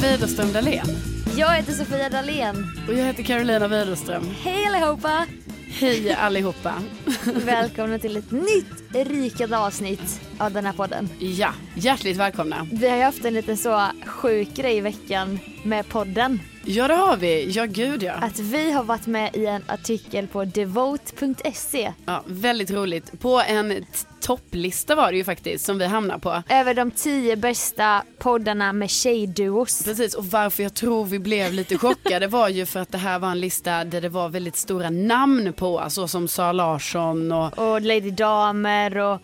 Widerström Dahlén. Jag heter Sofia Dalén. Och jag heter Carolina Widerström. Hej allihopa! Hej allihopa. Välkomna till ett nytt rikat avsnitt av den här podden. Ja, hjärtligt välkomna. Vi har ju haft en liten så sjuk grej i veckan med podden. Ja, det har vi. Ja, gud ja. Att vi har varit med i en artikel på devote.se ja väldigt roligt. På en t- topplista var det ju faktiskt som vi hamnar på. över de tio bästa poddarna med tjejduos. Precis, och varför jag tror vi blev lite chockade var ju för att det här var en lista där det var väldigt stora namn på, så som Sara Larsson och Och Lady Damer och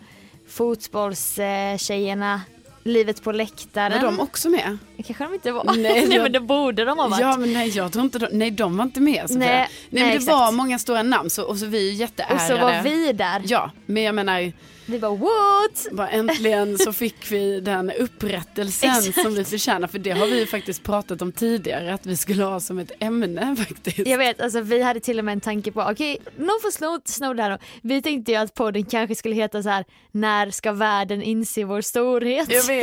fotbollstjejerna. Livet på var läktaren. de också med? kanske de inte var. Nej, Nej, jag- men det borde de ha varit. Ja, men nej, jag tror inte de, nej, de var inte med. Sofia. Nej, nej, men nej, det exakt. var många stora namn så, och så vi är ju jätteärade. och så var vi där. Ja, men jag menar, Vi bara what? bara äntligen så fick vi den upprättelsen som vi förtjänar. För det har vi ju faktiskt pratat om tidigare, att vi skulle ha som ett ämne faktiskt. Jag vet, alltså vi hade till och med en tanke på, okej någon får sno, sno det här då. Vi tänkte ju att podden kanske skulle heta så här, när ska världen inse vår storhet? Jag vet.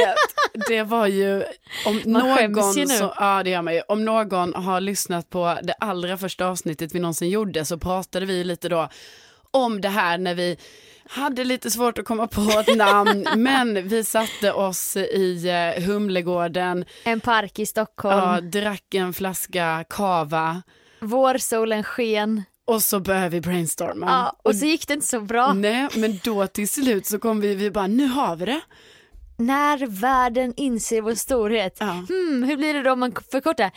Det var ju, om Man någon, skäms ju nu. så, ja, det gör man ju. om någon har lyssnat på det allra första avsnittet vi någonsin gjorde så pratade vi ju lite då om det här när vi hade lite svårt att komma på ett namn men vi satte oss i eh, Humlegården, En park i Stockholm, ja, drack en flaska kava vårsolen sken. och så började vi brainstorma. Ja, Ah. och så gick det inte så bra. Nej men då till slut så kom vi, vi bara nu har vi det. När världen inser vår storhet. Ja. Hmm, hur blir det då om man förkortar?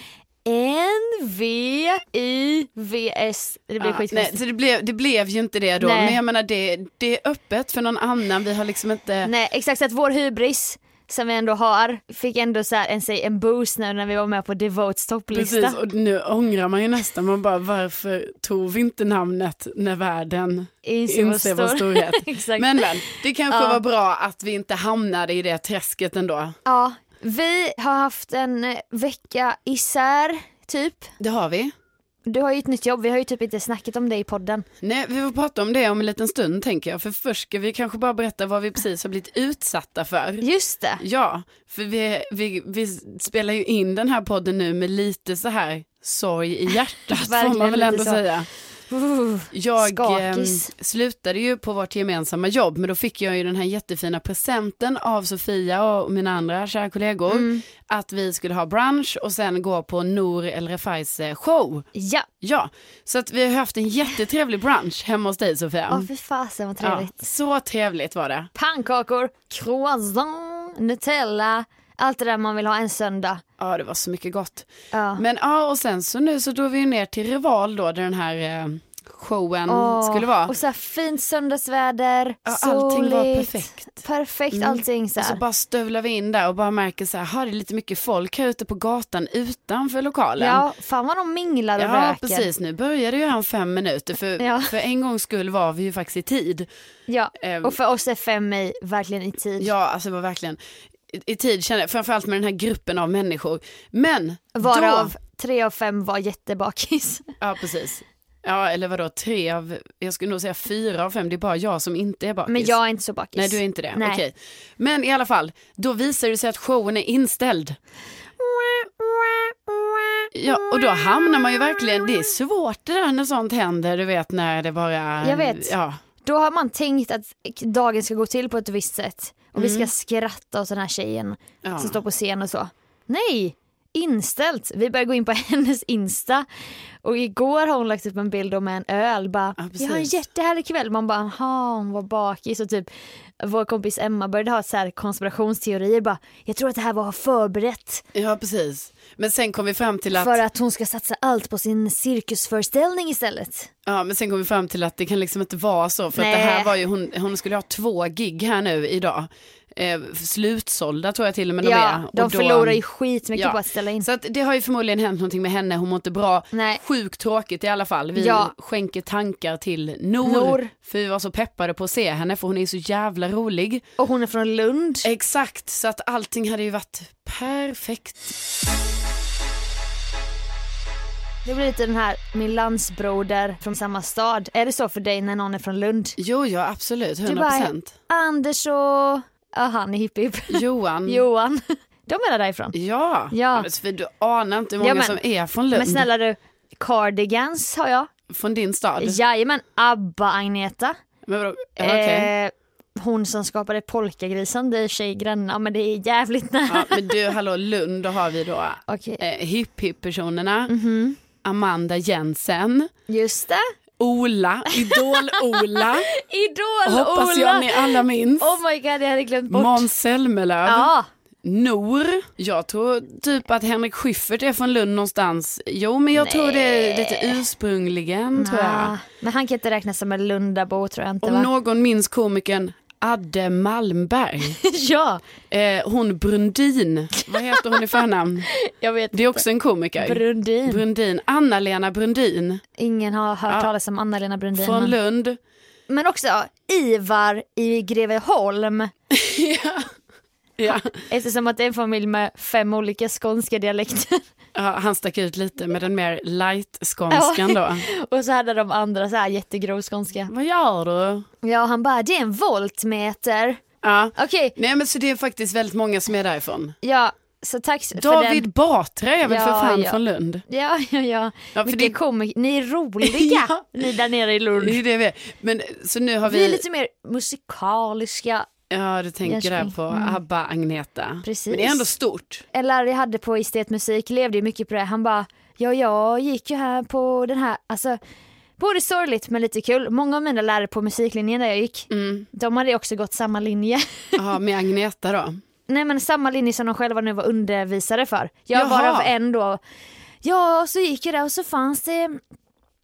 N-V-I-V-S. Det blir Ja, Ah, nej, skitkonstigt. så det blev, det blev ju inte det då. Nej. Men jag menar det, det är öppet för någon annan. Vi har liksom inte... Nej exakt, så att vår hybris som vi ändå har fick ändå så här, en, säg, en boost nu när vi var med på Devotes topplista. Precis, och nu ångrar man ju nästan. Man bara varför tog vi inte namnet när världen Inse vår inser vår stor- storhet. exakt. Men men, det kanske Ja. var bra att vi inte hamnade i det träsket ändå. Ja, vi har haft en eh, vecka isär typ. Det har vi. Du har ju ett nytt jobb, vi har ju typ inte snackat om det i podden. Nej, vi får prata om det om en liten stund tänker jag. För först ska vi kanske bara berätta vad vi precis har blivit utsatta för. Just det, Ja, för vi, vi, vi spelar ju in den här podden nu med lite så här sorg i hjärtat får man väl Verkligen lite ändå så. säga. Jag eh, Skakis. slutade ju på vårt gemensamma jobb men då fick jag ju den här jättefina presenten av Sofia och mina andra kära kollegor Mm. att vi skulle ha brunch och sen gå på Nour El Refais eh, show. ja. Ja, så att vi har haft en jättetrevlig brunch hemma hos dig Sofia. Åh fy fasen vad Mm. ja, trevligt. så trevligt var det. Pannkakor, croissant, nutella, allt det där man vill ha en söndag. Ja, det var så mycket gott. Ja. Men ja, och sen så nu så drog vi ju ner till Rival då, där den här eh, showen Åh, skulle vara. Och så här fint söndagsväder, Ja, soligt. allting var perfekt. Perfekt Mm. allting så Och så här. bara stövlar vi in där och bara märker så här, "Ha, det är lite mycket folk här ute på gatan utanför lokalen. Ja, fan vad de minglar och Ja, röker. precis. Nu började ju han fem minuter, för, Ja. för en gångs skull var vi ju faktiskt i tid. Ja, Ehm. och för oss är fem i verkligen i tid. Ja, alltså det var verkligen i, i tid, kände jag, framförallt med den här gruppen av människor. Men Varav då, tre av fem var jättebakis. ja precis. Ja, eller vadå, tre av, jag skulle nog säga fyra av fem, det är bara jag som inte är bakis. Men jag är inte så bakis. Nej du är inte det, Nej. okej. Men i alla fall, då visar det sig att showen är inställd. Ja, och då hamnar man ju verkligen, det är svårt det där när sånt händer, du vet när det bara... Jag vet. Ja, Då har man tänkt att dagen ska gå till på ett visst sätt. Och vi ska skratta åt den här tjejen Mm. Ja. som står på scen och så. Nej! Inställt. Vi börjar gå in på hennes Insta. Och igår har hon lagt upp en bild om en öl. Bara, Ja, jag har en precis. jättehärlig kväll. Man bara, jaha hon var bakis. Och typ vår kompis Emma började ha så här konspirationsteorier. Bara, jag tror att det här var förberett. ja precis. Men sen kom vi fram till att, För att hon ska satsa allt på sin cirkusföreställning istället. ja, men sen kom vi fram till att det kan liksom inte vara så. För att det Nej. här var ju, hon, hon skulle ha två gig här nu idag. Eh, slutsålda tror jag till och med de är. Ja, Och de då- förlorar ju skitmycket Ja. på att ställa in. Så att det har ju förmodligen hänt någonting med henne, hon mår inte bra. Mm. Nej. Sjukt tråkigt i alla fall. Vi Ja. skänker tankar till Nor, Noor. För vi var så peppade på att se henne för hon är så jävla rolig. Och hon är från Lund. Exakt, så att allting hade ju varit perfekt. Det blir lite den här min landsbroder från samma stad. Är det så för dig när någon är från Lund? Jo, ja absolut, Du 100%. Mm. bara, Anders och... Ja, han är hipp hipp. Johan, Johan. De är därifrån. Ja, Ja. Men Sofie, du anar inte hur många Ja, men- som är från Lund. Men snälla du, Cardigans har jag. Från din stad. Jajamän, ABBA-Agneta. Men vadå? Ja, okej. Eh, hon som skapade polkagrisen, det är tjej granna, men det är jävligt nära. ja, men du, hallå Lund, då har vi då Okej, eh, hipp hipp personerna Mhm. Amanda Jensen, just det. Ola, Idol-Ola, Idol-Ola! hoppas jag ni alla minns. Oh my god, jag hade glömt bort. Måns Zelmerlöw, ja, Nor. Jag tror typ att Henrik Schyffert är från Lund någonstans. Jo, men jag tror det är lite ursprungligen, tror jag. Ah, men han kan inte räknas som en Lundabo tror jag inte Om va? någon minns komikern Adde Malmberg, ja, eh, hon Brundin, vad heter hon i förnamn? jag vet. Det är också en komiker. Brundin. Brundin, Anna-Lena Brundin Ingen har hört Ja. talas om Anna-Lena Brundin. från men... Lund. men också ja, Ivar i Greveholm. Ja. Eftersom att det är en familj med fem olika skånska dialekter. Ja, han stack ut lite med den mer light-skånskan då. Och så hade de andra så här jättegrov skånska. Vad gör du? Ja, och han bara det är en voltmeter. Ja. Okej, Nej men så det är faktiskt väldigt många som är därifrån. ja, så tack för David den. Batra är väl Ja, för fan ja. från Lund? Ja, ja, ja. Ja, för Mycket det- komik- Ni är roliga, Ja. ni där nere i Lund. Det är ju det vi är. Men så nu har vi, Mm. Vi är lite mer musikaliska. ja du tänker där Jönköping. på ABBA, Agneta. mm. Precis. Men det är ändå stort. En lärare jag hade på estetmusik levde ju mycket på det. Han bara, ja jag gick ju här på den här, alltså både sorgligt men lite kul. Många av mina lärare på musiklinjen där jag gick, Mm. de hade ju också gått samma linje. Ja, med Agneta då. Nej men samma linje som de själva nu var undervisare för. Jag var Jaha. av en då, ja och så gick jag där och så fanns det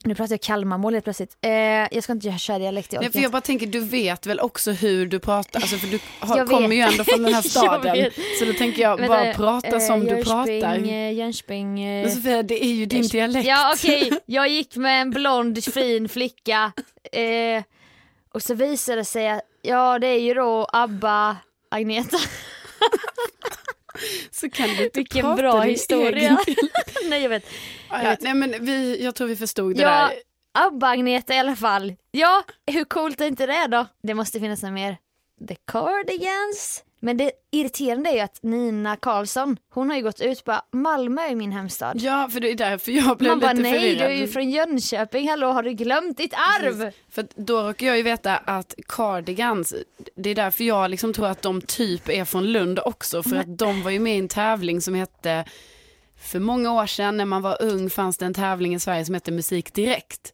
nu pratar jag Kalmarmål helt plötsligt. Eh, jag ska inte göra- köra dialekt. Nej, orkar för jag bara tänker, du vet väl också hur du pratar, alltså, för du har, Jag vet. kommer ju ändå från den här Jag staden. vet. Så då tänker jag, Vänta, bara prata eh, som du Jönköping, pratar. eh, Jönköping. eh, Men Sofia, det är ju din dialekt. Ja okej, jag gick med en blond fin flicka eh, och så visade det sig att ja det är ju då ABBA Agneta. Så kan du inte Vilken prata bra din historia. egen Nej jag vet. Ja, nej men vi, jag tror vi förstod det Ja, där. ABBA Agneta i alla fall. Ja, hur coolt är inte det då? Det måste finnas något mer. The Cardigans. Men det irriterande är ju att Nina Karlsson, hon har ju gått ut bara Malmö är min hemstad. Ja, för det är därför jag blev Man bara lite nej, du förvirrad. är ju från Jönköping, hallå har du glömt ditt arv? För att då råkar jag ju veta att Cardigans, det är därför jag liksom tror att de typ är från Lund också. För att de var ju med i en tävling som hette, för många år sedan när man var ung fanns det en tävling i Sverige som hette Musik Direkt.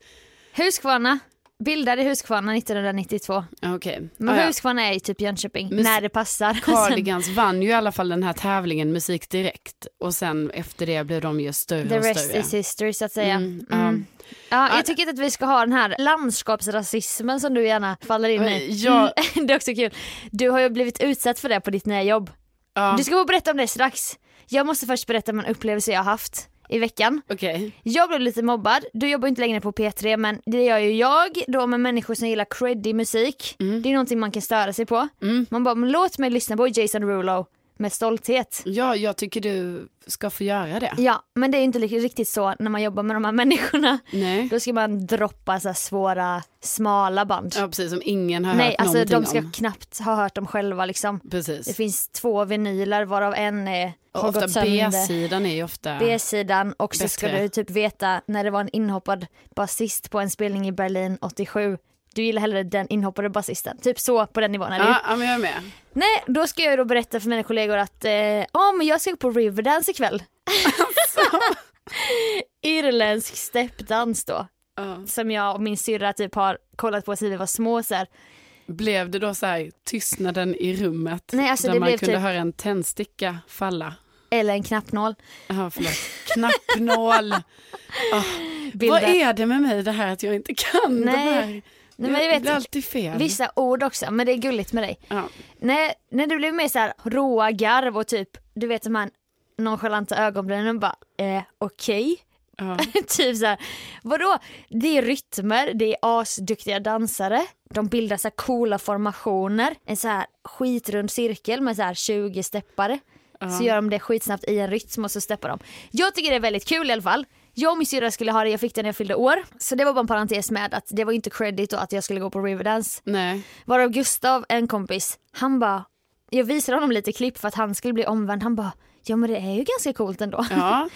Huskvarna, bildade Huskvarna 1992. Ja, Okej, Men Ah, ja. Huskvarna är ju typ Jönköping, Mus- när det passar. Sen, Cardigans vann ju i alla fall den här tävlingen Musik Direkt. Och sen efter det blev de ju större the och rest större. is history så att säga. Mm, Mm, ja. Ah. Ja, jag tycker inte att vi ska ha den här landskapsrasismen som du gärna faller in i. Ja. Mm, det är också kul. Du har ju blivit utsatt för det på ditt nya jobb. Ja, Du ska få berätta om det strax. Jag måste först berätta om en upplevelse jag har haft i veckan. okej. Jag blev lite mobbad, du jobbar ju inte längre på P3 men det gör ju jag då med människor som gillar creddy musik. Mm. Det är någonting man kan störa sig på. Man bara, men låt mig lyssna på Jason Rulo med stolthet. Ja, jag tycker du ska få göra det. Ja, men det är ju inte li- riktigt så när man jobbar med de här människorna. Nej. Då ska man droppa så här svåra, smala band. Ja, precis. Som ingen har Nej, hört alltså någonting de ska om. knappt ha hört dem själva liksom. Det Precis. finns två vinyler varav en är, Och har ofta gått sönder. B-sidan är ju ofta... B-sidan och så ska Bättre. du typ veta när det var en inhoppad basist på en spelning i Berlin 87. Du gillar hellre den inhoppade basisten. Typ så på den nivån. Eller? Ja, ja, men jag är med. Nej, då ska jag ju då berätta för mina kollegor att eh, "Ja, men jag ska gå på Riverdance ikväll. Alltså. Irländsk steppdans då. Ja. Som jag och min syrra typ har kollat på sedan vi var små. Så här. Blev det då så här tystnaden i rummet Nej, alltså, där det man blev kunde typ- höra en tändsticka falla? Eller en knappnål. Ja, förlåt. Knappnål. Vad Bilder. är det med mig det här att jag inte kan de Nej. här? men jag vet blir inte. alltid fel. Vissa ord också, men det är gulligt med dig. Ja. När, när du blev mer så här råa garv och typ, du vet de här nonchalanta ögonbrynen bara, eh, okej. Ja. typ så här, vadå? Det är rytmer, det är asduktiga dansare, de bildar så här coola formationer, en så här skitrund cirkel med så här 20 steppare. Så gör de det skitsnabbt i en rytm och så steppar de. Jag tycker det är väldigt kul i alla fall. Jag och min syrra skulle ha det, jag fick det när jag fyllde år. Så det var bara en parentes med att det var inte credit och att jag skulle gå på Riverdance. Nej. Varav Gustav, en kompis, han bara jag visade honom lite klipp för att han skulle bli omvänd. Han bara, ja men det är ju ganska coolt ändå. Ja,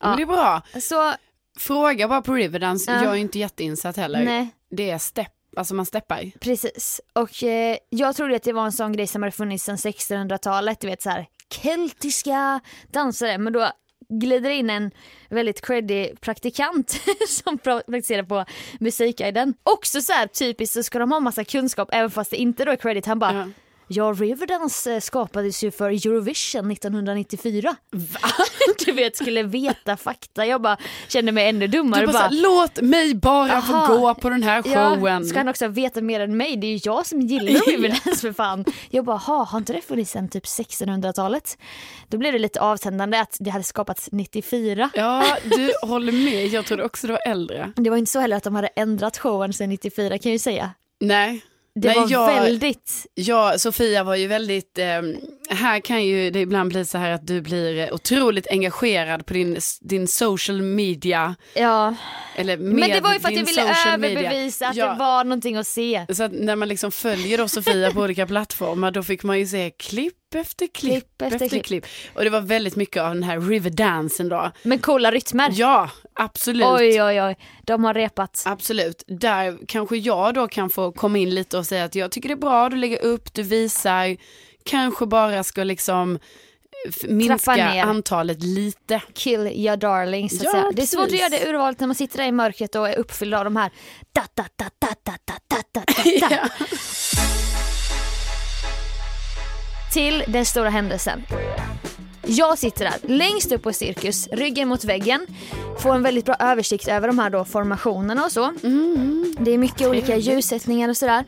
Men det är bra. Så Fråga bara på Riverdance, Ja. jag är inte jätteinsatt heller. nej, Det är stepp, alltså man steppar. precis. Och eh, jag trodde att det var en sån grej som hade funnits sedan 1600-talet, du vet så här keltiska dansare. Men då glider in en väldigt creddig praktikant som pra- praktiserar på Musikguiden. Också så här typiskt så ska de ha massa kunskap även fast det inte då är credit. Han bara, Ja. Ja, Riverdance eh, skapades ju för Eurovision 1994. Du vet, skulle veta fakta. Jag bara kände mig ännu dummare. Du bara, Bara, så här, låt mig bara Aha. få gå på den här ja, showen. ska han också veta mer än mig? Det är ju jag som gillar Riverdance för fan. Jag bara, ha, har inte det funnits sedan typ 1600-talet? Då blev det lite avtändande att det hade skapats 94. Ja, du håller med. Jag trodde också det var äldre. Det var inte så heller att de hade ändrat showen sedan 94 kan jag ju säga. Nej. Det Nej, var jag, väldigt, jag, Sofia var ju väldigt, eh, här kan ju det ibland bli så här att du blir eh, otroligt engagerad på din, din social media. ja. Eller med Men det var ju för att din jag ville social överbevisa media. att det var någonting att se. Så att när man liksom följer då Sofia på olika plattformar då fick man ju se klipp efter klipp, Klipp efter efter, klipp. klipp. Och det var väldigt mycket av den här riverdansen då. Men coola rytmer. Ja, absolut. Oj, oj, oj. De har repat. Absolut, där kanske jag då kan få komma in lite och säga att jag tycker det är bra, du lägger upp, du visar, kanske bara ska liksom f- minska ner. antalet lite. Kill your darling, så att Ja, säga. Det är precis. svårt att göra det urvalet när man sitter där i mörkret och är uppfylld av de här da da da da da da da da da da. Till den stora händelsen. Jag sitter där längst upp på cirkus, ryggen mot väggen. Får en väldigt bra översikt över de här då formationerna och så. Mm. Det är mycket olika ljussättningar och sådär.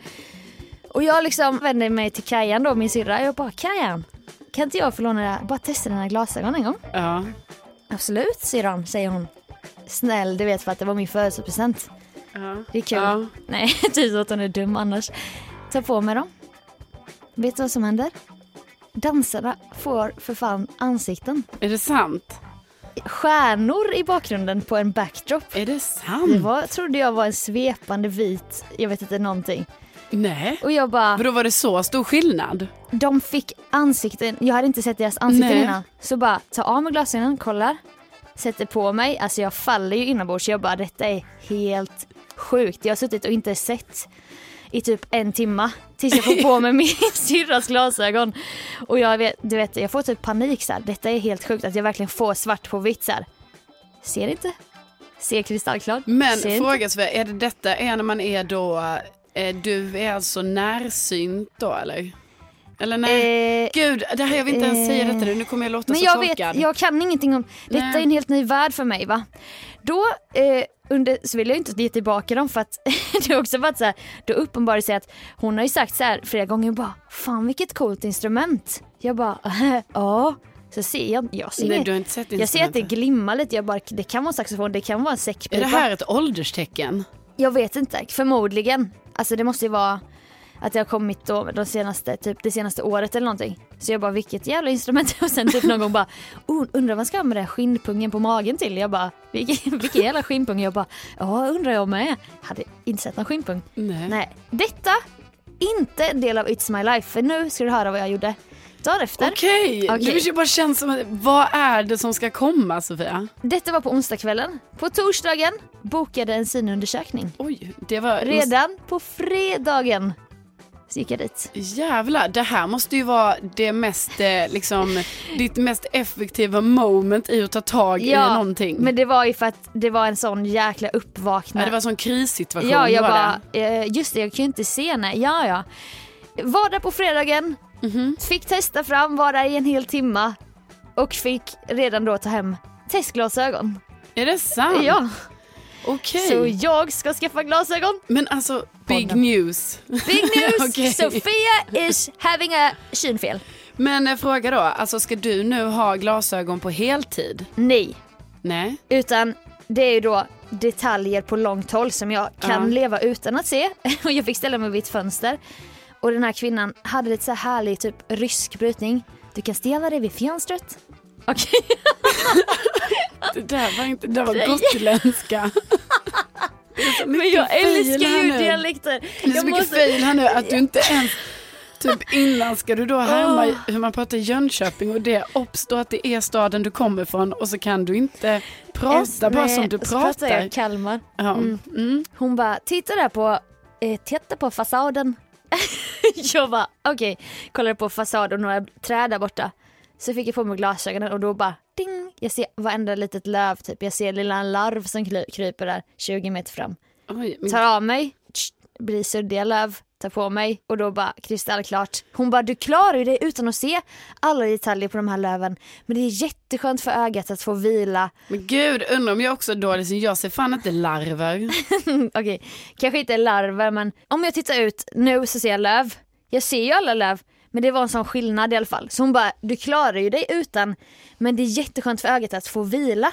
Och jag liksom vänder mig till Kajan då, min syrra. Jag bara, Kajan, kan inte jag få låna det här? Bara testa dina glasögon en gång. Ja, Absolut syrran, säger hon. Snäll, du vet för att det var min födelsedagspresent. ja. Det är kul. Ja. Nej, typ så att hon är dum annars. Ta på mig dem. Vet du vad som händer? Dansarna får för fan ansikten. Är det sant? Stjärnor i bakgrunden på en backdrop. Är det Det sant? var, trodde jag var en svepande vit, jag vet inte någonting. Nej. Och jag bara, För då var det så stor skillnad? de fick ansikten, jag hade inte sett deras ansikten Nej. innan. Så bara, ta av mig glasögonen, kollar, sätter på mig, alltså jag faller ju inombords. Jag bara, detta är helt sjukt. Jag har suttit och inte sett i typ en timma tills jag får på mig min syrras glasögon. Och jag vet, du vet, jag får typ panik så här. Detta är helt sjukt att jag verkligen får svart på vitt så här. Ser inte. Ser kristallklart. Men Ser inte. fråga Sofia, är det detta är när man är då, eh, du är alltså närsynt då eller? Eller nej? Eh, Gud, det här, jag vill inte ens säga eh, detta nu, nu kommer jag låta Men så jag vet, korkad. jag kan ingenting om, detta Nej. är en helt ny värld för mig va. Då eh, under, så vill jag inte ge tillbaka dem för att det har också varit så här, då uppenbarade sig att hon har ju sagt så här flera gånger bara, fan vilket coolt instrument. Jag bara, ja. Så ser jag, jag ser, Nej, du har inte sett jag ser att det instrumentet. glimmar lite, jag bara, det kan vara en saxofon, det kan vara en säckpipa. Är det här ett ålderstecken? Jag vet inte, förmodligen. Alltså det måste ju vara att det har kommit då de senaste, typ det senaste året eller någonting. Så jag bara vilket jävla instrument och sen typ någon gång bara oh, undrar vad man ska ha med den här skinnpungen på magen till? Jag bara vilken, vilken jävla skinnpung? Jag bara ja undrar jag med. Hade inte sett någon skinnpung. Nej. Nej, detta inte en del av It's My Life för nu ska du höra vad jag gjorde. Dagen efter. Okej, Okej. det bara känns som att, vad är det som ska komma Sofia? Detta var på onsdagskvällen. På torsdagen bokade en synundersökning. Oj, det var... Redan på fredagen så gick jag dit. Jävlar, det här måste ju vara det mest, eh, liksom, ditt mest effektiva moment i att ta tag i någonting. men det var ju för att det var en sån jäkla ja, uppvaknande. det var en sån krissituation. ja, jag var bara, det. eh, just det jag kan ju inte se nej, ja ja. Var där på fredagen, Mhm. fick testa fram, var där i en hel timma och fick redan då ta hem testglasögon. Är det sant? Ja, Ah, Okej. så jag ska skaffa glasögon. Men alltså, big Podden. news. Big news! Okej. Sofia is having a synfel. Men eh, fråga då, alltså ska du nu ha glasögon på heltid? Nej, Nej. Utan det är ju då detaljer på långt håll som jag kan Ja. leva utan att se. Och jag fick ställa mig vid ett fönster. Och den här kvinnan hade lite så här härlig typ rysk brytning. Du kan ställa dig vid fönstret. Okej. Det där var inte, det där var gotländska. Men jag fail älskar här ju nu. dialekter. Det är så Jag mycket fail här nu att du inte ens Typ innan ska du då härma hur man pratar i Jönköping och det obs då att det är staden du kommer ifrån och så kan du inte prata bara Nej, som du och så pratar pratar. jag Kalmar. Ja. Mm. Mm. Hon bara, titta där på, eh, titta på fasaden. jag bara, okej, kollade på fasaden och några träd där borta. Så fick jag på mig glasögonen och då bara, ding, jag ser varenda litet löv typ. Jag ser lilla larv som kly- kryper där 20 meter fram. Oj, men- Tar av mig, tsch, blir suddiga löv, tar på mig och då bara kristallklart. Hon bara, du klarar ju dig utan att se alla detaljer på de här löven. Men det är jätteskönt för ögat att få vila. Men gud, undrar om jag också är dålig som jag ser fan inte larver. Okej, kanske inte larver men om jag tittar ut nu så ser jag löv. Jag ser ju alla löv men det var en sån skillnad i alla fall. Så hon bara, du klarar ju dig utan men det är jätteskönt för ögat att få vila.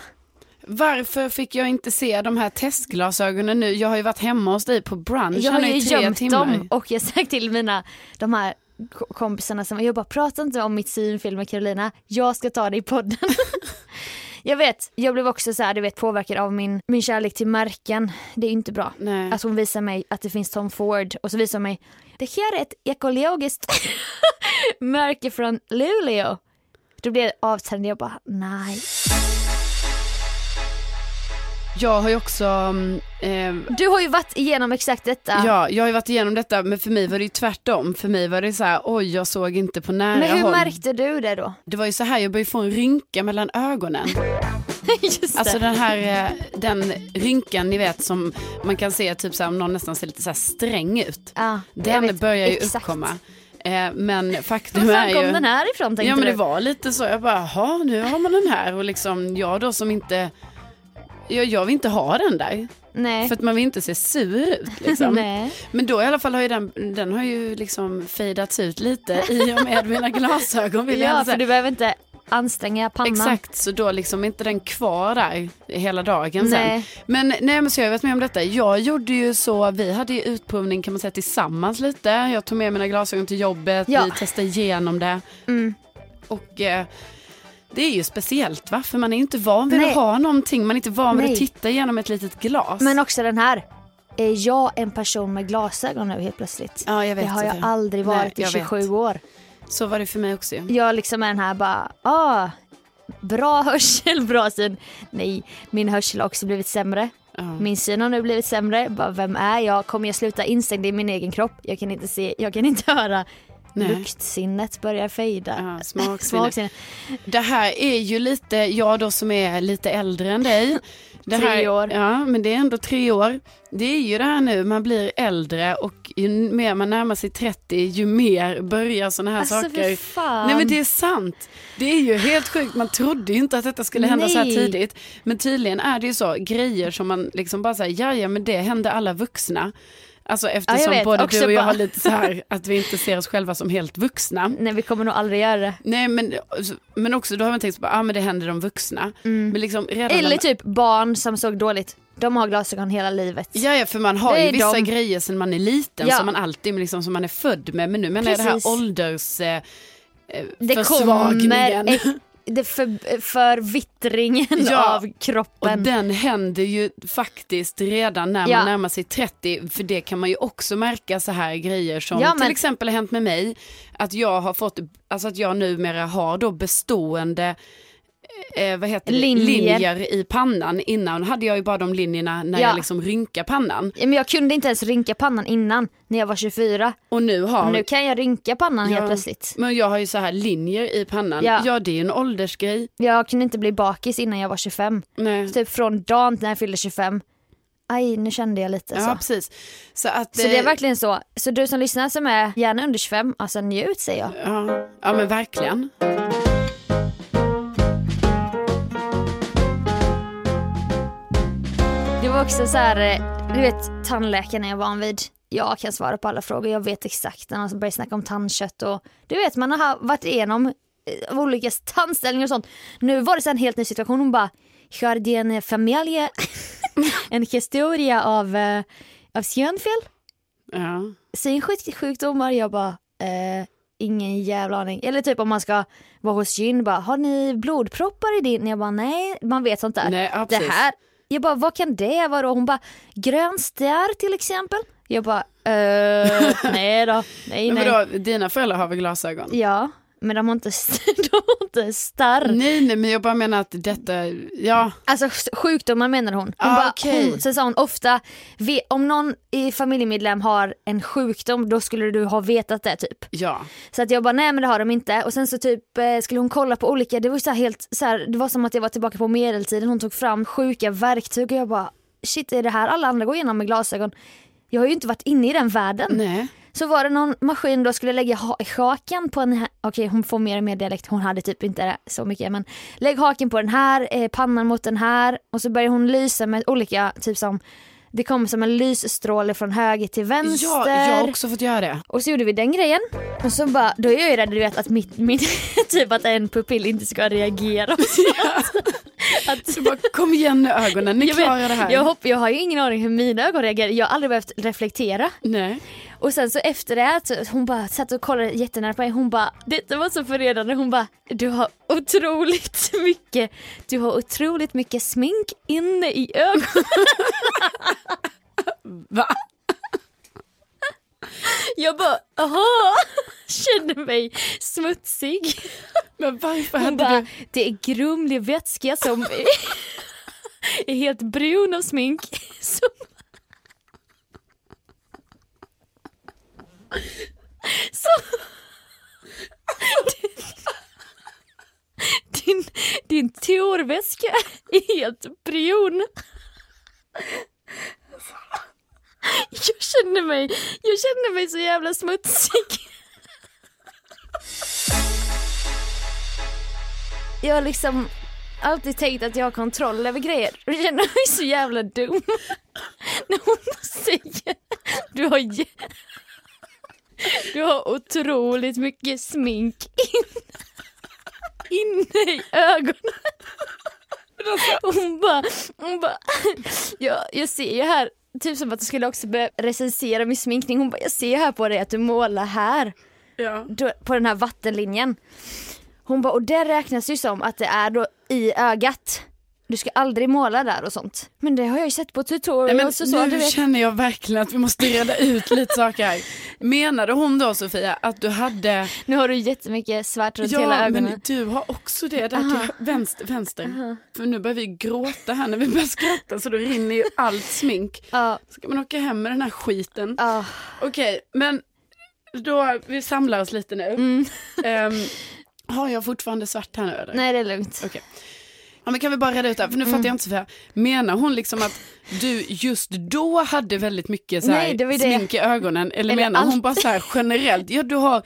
Varför fick jag inte se de här testglasögonen nu? Jag har ju varit hemma hos dig på brunch Jag har här nu ju i tre gömt timmar. dem och jag sa till mina, de här k- kompisarna som, jag bara prata inte om mitt synfel med Carolina, jag ska ta det i podden. jag vet, jag blev också så här, du vet påverkad av min, min kärlek till märken. Det är inte bra. Nej. Att Alltså hon visar mig att det finns Tom Ford och så visar hon mig det här är ett ekologiskt märke från Luleå. Då blev jag avtänd jag bara nej. Jag har ju också, mm, eh, Du har ju varit igenom exakt detta. ja, jag har ju varit igenom detta men för mig var det ju tvärtom. För mig var det så här, oj jag såg inte på nära Men hur håll. märkte du det då? Det var ju så här, jag började få en rynka mellan ögonen. Just Alltså det. den här eh, den rynkan ni vet som man kan se typ så här, om någon nästan ser lite så här sträng ut. Ja, jag Den vet. börjar ju Exakt. uppkomma. Eh, men faktum Var är fan ju... kom den här ifrån tänkte Ja men det du? var lite så, jag bara jaha nu har man den här och liksom jag då som inte, jag, jag vill inte ha den där. Nej. För att man vill inte se sur ut liksom. Nej. men då i alla fall har ju den, den har ju liksom fejdats ut lite i och med mina glasögon vill jag Ja, ändå för säga. du behöver inte anstränga pannan. Exakt, så då liksom är inte den kvar där hela dagen Nej. sen. Men nej men så jag har varit med om detta. Jag gjorde ju så, vi hade ju utprovning kan man säga tillsammans lite. Jag tog med mina glasögon till jobbet, Ja. vi testade igenom det. Mm. Och eh, det är ju speciellt va, för man är ju inte van vid Nej. att ha någonting, man är inte van vid Nej. att titta genom ett litet glas. Men också den här. Är jag en person med glasögon nu helt plötsligt? ja, jag det vet har jag Sofia. aldrig Nej, varit jag i vet. 27 år. Så var det för mig också ju. jag liksom är den här bara, ah, bra hörsel, bra syn. Nej, min hörsel har också blivit sämre. Ja. Min syn har nu blivit sämre. Bara, vem är jag? Kommer jag sluta instängd i min egen kropp? Jag kan inte se, jag kan inte höra. Nej. Luktsinnet börjar fejda. Ja, smaksinne. Smaksinnet. Det här är ju lite, jag då som är lite äldre än dig. Det Tre här, år. Ja, men det är ändå tre år. Det är ju det här nu, man blir äldre och ju mer man närmar sig 30 ju mer börjar sådana här Alltså fy saker. fan. Nej men det är sant. Det är ju helt sjukt, man trodde ju inte att detta skulle hända så här Nej. tidigt. Men tydligen är det ju så, grejer som man liksom bara säger, ja ja men det händer alla vuxna. Alltså eftersom vet. både Också du och jag bara- har lite så här att vi inte ser oss själva som helt vuxna. Nej vi kommer nog aldrig göra det. Nej men, men också då har man tänkt på, ah, men det händer de vuxna. Men liksom redan när Mm. Eller man, typ barn som såg dåligt. De har glasögon hela livet. ja, ja för man har Det ju är vissa de. grejer sen man är liten Ja. som man alltid liksom, som man är född med. Men nu menar jag det Precis. här ålders... Eh, eh, det försvagningen. kommer eh, det för, förvittringen Ja. av Och kroppen. den händer ju faktiskt redan när man Ja. närmar sig 30. För det kan man ju också märka så här grejer som Ja, men- till exempel har hänt med mig. Att jag har fått, alltså att jag numera har då bestående eh, vad heter det? Linjer. linjer i pannan. Innan hade jag ju bara de linjerna när Ja. jag liksom rynkar pannan. Ja, Men jag kunde inte ens rynka pannan innan när jag var 24. Och nu har Nu kan jag rynka pannan Ja. helt plötsligt. men jag har ju så här linjer i pannan. Ja. Ja, det är ju en åldersgrej. Jag kunde inte bli bakis innan jag var 25. Nej. Typ från dagen när jag fyllde 25. Aj, nu kände jag lite Ja, så. precis. Så, att, Så det är eh, verkligen så. Så du som lyssnar som är gärna under 25, alltså njut säger jag. Ja, ja men verkligen. Det var också så här, eh, du vet tandläkaren är jag van vid. Jag kan svara på alla frågor, jag vet exakt när han börjar snacka om tandkött och du vet man har varit igenom eh, olika tandställningar och sånt. Nu var det så här en helt ny situation, hon bara Jardin familje, en historia av, eh, av könfel, Ja. synsjukdomar. Jag bara eh, ingen jävla aning. Eller typ om man ska vara hos gyn, bara har ni blodproppar i din? Jag bara nej, man vet sånt där Nej, ja, det precis. här. Jag bara, vad kan det vara då? Hon bara, grön stjär till exempel. Jag bara, Eh, nej då, nej Men nej. vadå, dina föräldrar har väl glasögon? Ja, men de har inte, de har inte starr. Nej, nej, men jag bara menar att detta, ja, Alltså s- sjukdomar menar hon. hon, Ah, bara, okej. hon sen sa hon ofta, "Ve- om någon i familjemedlem har en sjukdom då skulle du ha vetat det typ. ja. Så att jag bara nej men det har de inte och sen så typ eh, skulle hon kolla på olika, det var ju så här helt så här, det var som att jag var tillbaka på medeltiden, hon tog fram sjuka verktyg och jag bara shit är det här alla andra går igenom med glasögon? Jag har ju inte varit inne i den världen. Nej. Så var det någon maskin då skulle lägga ha- haken på den här, okej hon får mer och mer dialekt, hon hade typ inte så mycket men lägg haken på den här, eh, pannan mot den här och så börjar hon lysa med olika, typ som det kom som en lysstråle från höger till vänster. Ja, jag har också fått göra det. Och så gjorde vi den grejen. Och så bara, då är jag ju rädd du vet att mitt, min, typ att en pupill inte ska reagera. Och så att, att, Du bara, kom igen nu ögonen, ni jag, vet, klarar det här. jag, hopp, jag har ju ingen aning hur mina ögon reagerar, jag har aldrig behövt reflektera. Nej. Och sen så efter det, här, så hon bara satt och kollade jättenära på mig, hon bara, detta var så förnedrande, hon bara, du har otroligt mycket, du har otroligt mycket smink inne i ögonen. Va? Jag bara, aha, kände mig smutsig. Men varför Hon hade bara, du? det är grumlig vätska som är helt brun av smink. Som... som... Din, din torväska är helt brun. Jag känner mig, jag känner mig så jävla smutsig. jag har liksom alltid tänkt att jag har kontroll över grejer. Jag känner mig så jävla dum. När hon säger du har, jä- du har otroligt mycket smink in- inne i ögonen. Hon bara, hon bara, jag, jag ser ju här, typ som att du skulle också börja recensera min sminkning. Hon bara, jag ser här på dig att du målar här Ja. då- på den här vattenlinjen. Hon bara, och det räknas ju som att det är då i ögat. Du ska aldrig måla där och sånt. Men det har jag ju sett på Nej, men tutorials och så. Du nu vet. känner jag verkligen att vi måste reda ut lite saker här. Menade hon då Sofia att du hade, Nu har du jättemycket svart runt hela ja ögonen. men du har också det där till vänster, vänster. För nu börjar vi gråta här när vi börjar skratta så då rinner ju allt smink. Ja, Ska man åka hem med den här skiten? ja. Okej, men då, vi samlar oss lite nu. Ehm, har jag fortfarande svart här nu eller? Mm. nej Mm. det är lugnt. Okej. Ja, men kan vi bara reda ut det här, för nu fattar jag inte Sofia. Menar hon liksom att du just då hade väldigt mycket så här Nej, det var ju det. smink i ögonen? Eller, Eller menar hon allt. bara så här generellt? Ja, du har,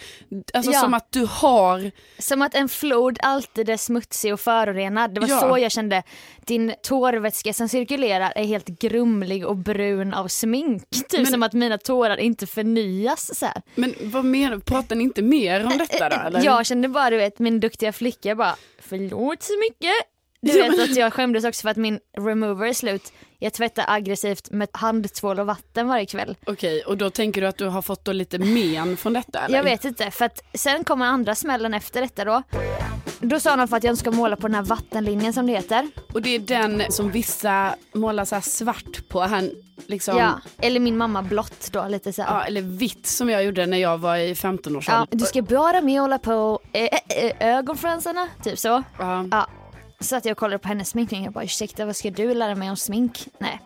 alltså Ja. som att du har, Som att en flod alltid är smutsig och förorenad. Det var Ja. så jag kände. Din tårvätska som cirkulerar är helt grumlig och brun av smink. Typ som att mina tårar inte förnyas så här. men vad menar pratar ni inte mer om detta då? Eller? Jag kände bara du vet min duktiga flicka bara förlåt så mycket. Du Ja, vet men- att jag skämdes också för att min remover är slut. Jag tvättar aggressivt med handtvål och vatten varje kväll. Okej, och då tänker du att du har fått då lite men från detta? Eller? Jag vet inte för att sen kommer andra smällen efter detta då. Då sa de för att jag inte ska måla på den här vattenlinjen som det heter. Och det är den som vissa målar så här svart på, här, liksom, Ja. ja. Eller min mamma blått då lite så här. eller vitt som jag gjorde när jag var i 15-årsåldern. Ja, du ska bara måla på eh, eh, eh, ögonfransarna, typ så. Ja. Ja, så att jag kollade på hennes sminkning och jag bara ursäkta vad ska du lära mig om smink? Nej.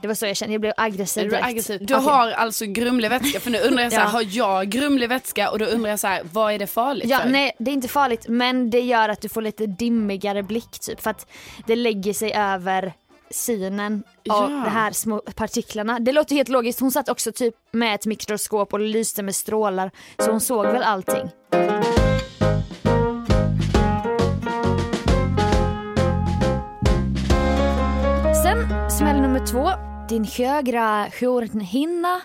Det var så jag kände, jag blev aggressiv Är du direkt. aggressiv? Du Okej. har alltså grumlig vätska, för nu undrar jag så här, Ja. har jag grumlig vätska? Och då undrar jag så här, vad är det farligt Ja, för? nej det är inte farligt men det gör att du får lite dimmigare blick typ för att det lägger sig över synen av Ja. de här små partiklarna. Det låter helt logiskt, hon satt också typ med ett mikroskop och lyste med strålar så hon såg väl allting. Sen smäll nummer två, din högra hornhinna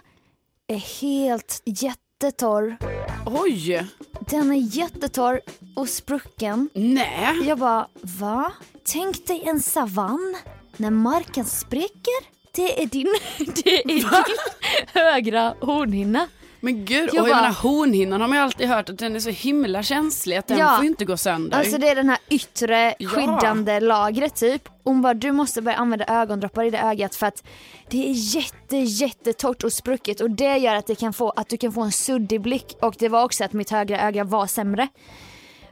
är helt jättetorr Oj, den är jättetorr och sprucken. nej. Jag bara, va? Tänk dig en savann när marken spricker. Det är din, det är din högra hornhinna. Men gud, Jag och jag bara- menar hornhinnan har man ju alltid hört att den är så himla känslig att den Ja. får ju inte gå sönder. Alltså det är den här yttre Ja. skyddande lagret typ. Hon bara du måste börja använda ögondroppar i det ögat för att det är jätte jättetorrt och sprucket och det gör att, det kan få, att du kan få en suddig blick och det var också att mitt högra öga var sämre.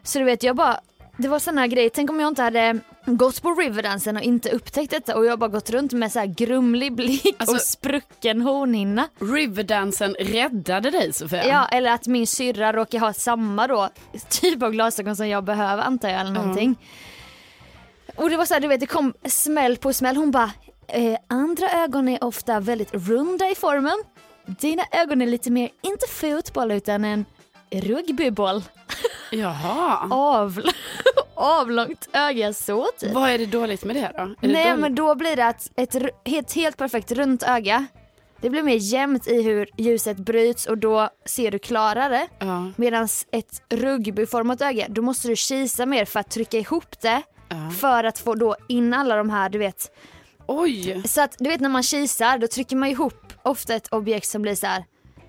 Så du vet jag bara, det var sådana grejer, tänk om jag inte hade gått på Riverdansen och inte upptäckt detta och jag bara gått runt med så här grumlig blick Alltså- och sprucken hornhinna. Riverdansen räddade dig Sofia. Ja, eller att min syrra råkar ha samma då typ av glasögon som jag behöver antar jag eller någonting. Och det var så här, du vet det kom smäll på smäll. Hon bara, eh, andra ögon är ofta väldigt runda i formen. Dina ögon är lite mer, inte fotboll utan en rugbyboll. Jaha. Avl- avlångt öga så typ. Vad är det dåligt med det då? Är det Nej dåligt? men då blir det att ett ru- helt, helt perfekt runt öga, det blir mer jämnt i hur ljuset bryts och då ser du klarare. Ja, Medan ett rugbyformat öga, då måste du kisa mer för att trycka ihop det ja. för att få då in alla de här, du vet. Oj, Så att du vet när man kisar, då trycker man ihop ofta ett objekt som blir så här,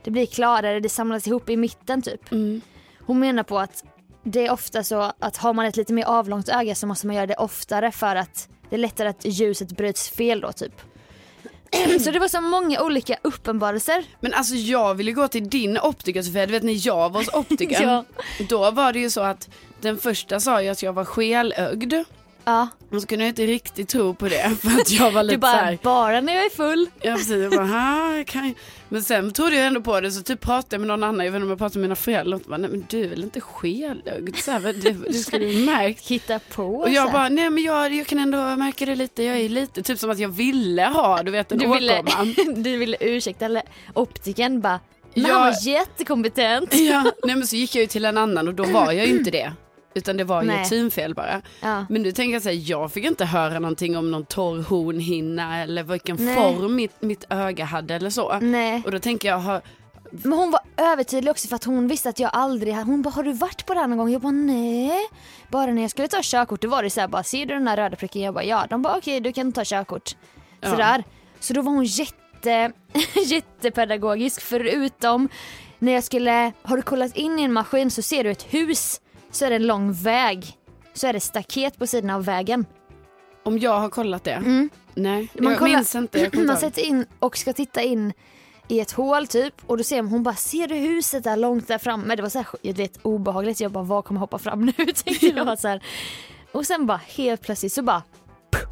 det blir klarare, det samlas ihop i mitten typ. Mm. Hon menar på att det är ofta så att har man ett lite mer avlångt öga så måste man göra det oftare för att det är lättare att ljuset bryts fel då typ. Så det var så många olika uppenbarelser. men alltså jag ville gå till din optiker Sofia, du vet när jag var hos optikern, Ja. då var det ju så att den första sa ju att jag var skelögd, Ja, men så kunde jag inte riktigt tro på det för att jag var du lite så bara, här, bara när jag är full. Ja precis, jag bara, "Ha, jag kan ju-" Men sen trodde jag ändå på det så typ pratade jag med någon annan, jag vet inte om jag pratade med mina föräldrar och de bara, nej men du är väl inte skelögd? Så här, "Men du, du skulle ju märkt. Hitta på. Och så jag här. bara, nej men jag, jag kan ändå märka det lite, jag är lite, typ som att jag ville ha, du vet en du ville, åkomma. du ville ursäkta eller optiken bara men Ja. han var jättekompetent. Ja, nej men så gick jag ju till en annan och då var jag ju inte det. Utan det var ju Nej. ett synfel bara. Ja. Men nu tänker jag säga, jag fick inte höra någonting om någon torr hornhinna eller vilken Nej. form mitt, mitt öga hade eller så. Nej. Och då tänker jag, har, Men hon var övertydlig också för att hon visste att jag aldrig hade, hon bara har du varit på det här någon gång? Jag bara nej. Bara när jag skulle ta körkort då var det så här bara ser du den här röda pricken? Jag bara ja. De bara okej du kan ta körkort. Ja. Sådär. Så då var hon jätte, jättepedagogisk förutom när jag skulle, har du kollat in i en maskin så ser du ett hus så är det en lång väg. Så är det staket på sidan av vägen. Mm. om jag har kollat det? Nej, Man jag kollar- minns inte. Jag kommer man inte ihåg. sätter in och ska titta in i ett hål typ och då ser man, hon bara ser du huset där långt där framme? Det var så här, jag vet, obehagligt. Jag bara vad kommer hoppa fram nu? Tänkte jag så här. Och sen bara helt plötsligt så bara puff,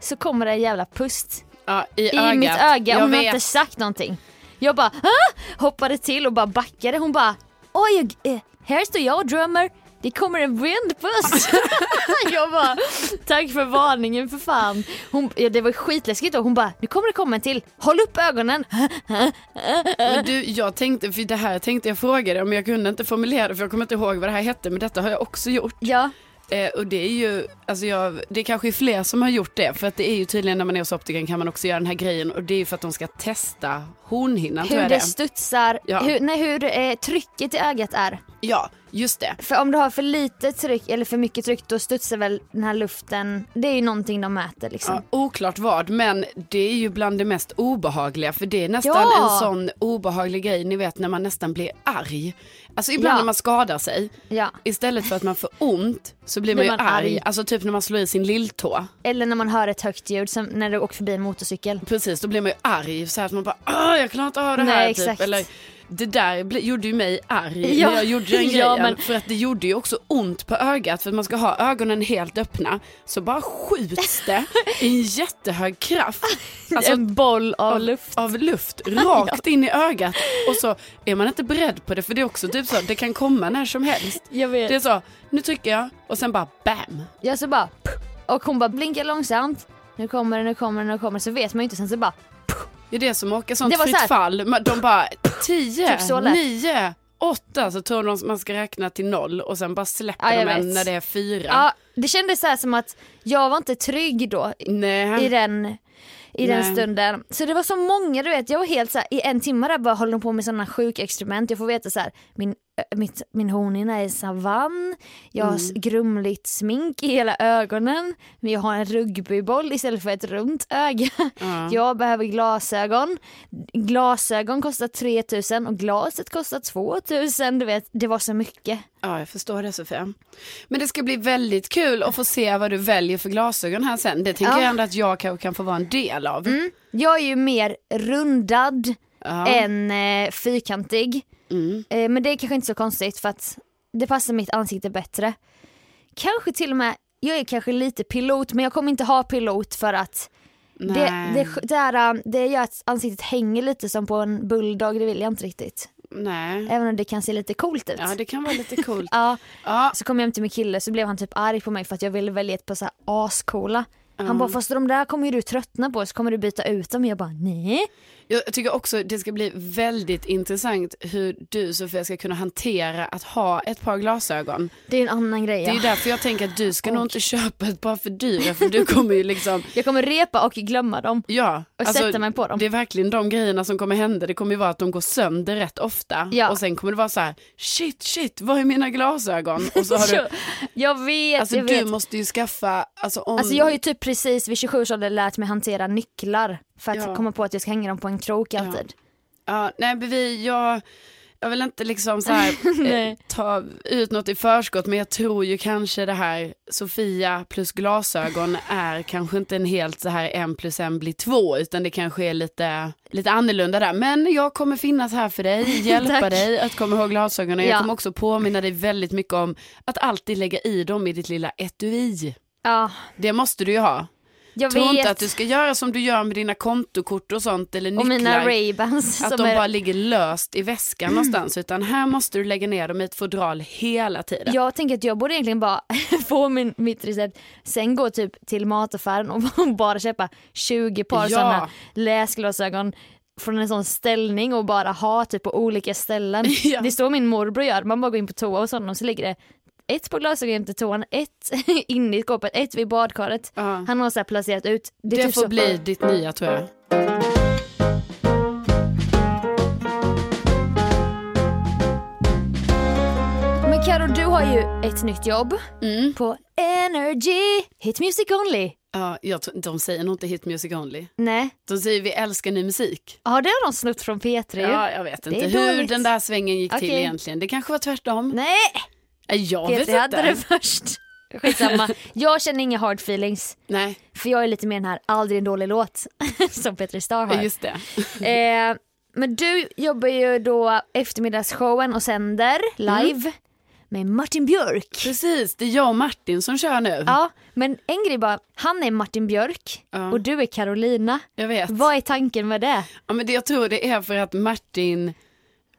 så kommer det en jävla pust ja, i, i ögat. mitt öga. Jag Hon har vet. inte sagt någonting. Jag bara ah! hoppade till och bara backade. Hon bara oj, jag, eh, här står jag och drömmer. Det kommer en vindpust. jag bara tack för varningen för fan. Hon, ja, det var skitläskigt då. Hon bara nu kommer det komma en till. Håll upp ögonen. Men du, jag tänkte, för det här tänkte jag fråga dig om jag kunde inte formulera det för jag kommer inte ihåg vad det här hette men detta har jag också gjort. Ja, Eh, och det är ju, alltså jag, det är kanske fler som har gjort det för att det är ju tydligen när man är hos optikern kan man också göra den här grejen och det är ju för att de ska testa hornhinnan tror hur jag det det är. studsar. Ja. Hur, nej, hur eh, trycket i ögat är. Ja, just det. För om du har för lite tryck eller för mycket tryck då studsar väl den här luften. Det är ju någonting de mäter liksom. Ja, oklart vad, men det är ju bland det mest obehagliga för det är nästan Ja. en sån obehaglig grej ni vet när man nästan blir arg. Alltså ibland Ja. när man skadar sig, Ja. istället för att man får ont så blir man Blir ju man arg. arg. Alltså typ när man slår i sin lilltå. Eller när man hör ett högt ljud som när du åker förbi en motorcykel. Precis, då blir man ju arg. Så här att man bara, "Åh, jag klarar inte av det här. Nej, typ. exakt. Eller, det där bli, gjorde ju mig arg Ja. när jag gjorde den Ja, grejen. men- För att det gjorde ju också ont på ögat. För att man ska ha ögonen helt öppna. Så bara skjuts det i en jättehög kraft. Alltså en boll av luft. av luft rakt in i ögat. Och så är man inte beredd på det. För det är också typ så, det kan komma när som helst. Jag vet. Det är så, nu trycker jag och sen bara bam. Jag så bara puff, och hon bara blinkar långsamt. Nu kommer det, nu kommer det, nu kommer det. Så vet man ju inte. Sen så bara Ja, det är som att åka sånt Det var fritt så här- fall. Man- De bara 10, Typ så lätt. 9, 8 så tror de att man ska räkna till noll och sen bara släpper Ja, jag de en vet. när det är fyra. ja. det kändes så här som att jag var inte trygg då i- i Nej. den i den Nej. stunden. Så det var så många du vet, jag var helt så här, i en timme där bara håller de på med sådana sjuka experiment. Jag får veta så här, min eh, mitt, min hornhinna är savann, jag har s- grumligt smink i hela ögonen, men jag har en rugbyboll istället för ett runt öga. Ja. Jag behöver glasögon. Glasögon kostar 3000 och glaset kostar 2000. Du vet, det var så mycket. Ja, jag förstår det Sofia. Men det ska bli väldigt kul att få se vad du väljer för glasögon här sen. Det tänker Ja. jag ändå att jag kanske kan få vara en del av. Mm. Jag är ju mer rundad Ja. än eh, fyrkantig. Mm. Eh, men det är kanske inte så konstigt för att det passar mitt ansikte bättre. Kanske till och med, jag är kanske lite pilot men jag kommer inte ha pilot för att det, Nej. det, det, här, eh, det gör att ansiktet hänger lite som på en bulldog, det vill jag inte riktigt. Nej. Även om det kan se lite coolt ut. Mm. Ja, det kan vara lite coolt. Ja, Ja, så kom jag hem till min kille så blev han typ arg på mig för att jag ville välja ett par så här ascoola. Han bara fast de där kommer ju du tröttna på så kommer du byta ut dem. Jag bara nej. jag tycker också det ska bli väldigt intressant hur du Sofia ska kunna hantera att ha ett par glasögon. Det är ju en annan grej. Det är ja. ju därför jag tänker att du ska nog inte köpa ett par för dyra för du kommer ju liksom Jag kommer repa och glömma dem. Ja, Och sätta mig på dem. Alltså, det är verkligen de grejerna som kommer hända. Det kommer ju vara att de går sönder rätt ofta. Ja. Och sen kommer det vara så här, shit, shit, var är mina glasögon? Och så har du, Jag vet, alltså jag du vet. måste ju skaffa, alltså om... Alltså jag har ju typ precis vid 27 års ålder lärt mig hantera nycklar för att Ja. komma på att jag ska hänga dem på en krok alltid. ja, nej, men vi, jag, jag vill inte liksom så här eh, ta ut något i förskott, men jag tror ju kanske det här Sofia plus glasögon är kanske inte en helt så här en plus en blir två, utan det kanske är lite, lite annorlunda där. Men jag kommer finnas här för dig, hjälpa Tack. dig att komma ihåg glasögonen. Jag Ja. kommer också påminna dig väldigt mycket om att alltid lägga i dem i ditt lilla etui. Ja, Det måste du ju ha. jag Tro vet. inte att du ska göra som du gör med dina kontokort och sånt eller och mina nycklar. Ray-Bans Att som de är... bara ligger löst i väskan någonstans utan här måste du lägga ner dem i ett fodral hela tiden. Jag tänker att jag borde egentligen bara få min, mitt recept, sen gå typ till mataffären och bara köpa 20 par Ja. sådana läsglasögon från en sån ställning och bara ha typ på olika ställen. Ja. Det står min morbror gör, man bara går in på toa hos honom så ligger det ett par glasögon in till toan, ett inne i skåpet, ett vid badkaret. Ja. Han har så här placerat ut. Det, är typ får så- bli ditt nya tror jag. Men Karo, du har ju ett nytt jobb Mm. på Energy, Hit Music Only. Ja, jag tror, de säger nog inte hit music only. Nej, De säger vi älskar ny musik. ja det har de snott från P3 ju. Ja, jag vet inte är hur dåligt. den där svängen gick till Okej. egentligen. Det kanske var tvärtom. Nej, Nej, jag vet P3 inte. hade det först. Skitsamma, jag känner inga hard feelings. Nej, För jag är lite mer den här aldrig en dålig låt som Petri Star har. just det. Eh, men du jobbar ju då eftermiddagsshowen och sänder live med Martin Björk. Precis, det är jag och Martin som kör nu. Ja, men en grej bara, han är Martin Björk Mm. Ja. och du är Carolina. Jag vet. Vad är tanken med det? Ja, men det, jag tror det är för att Martin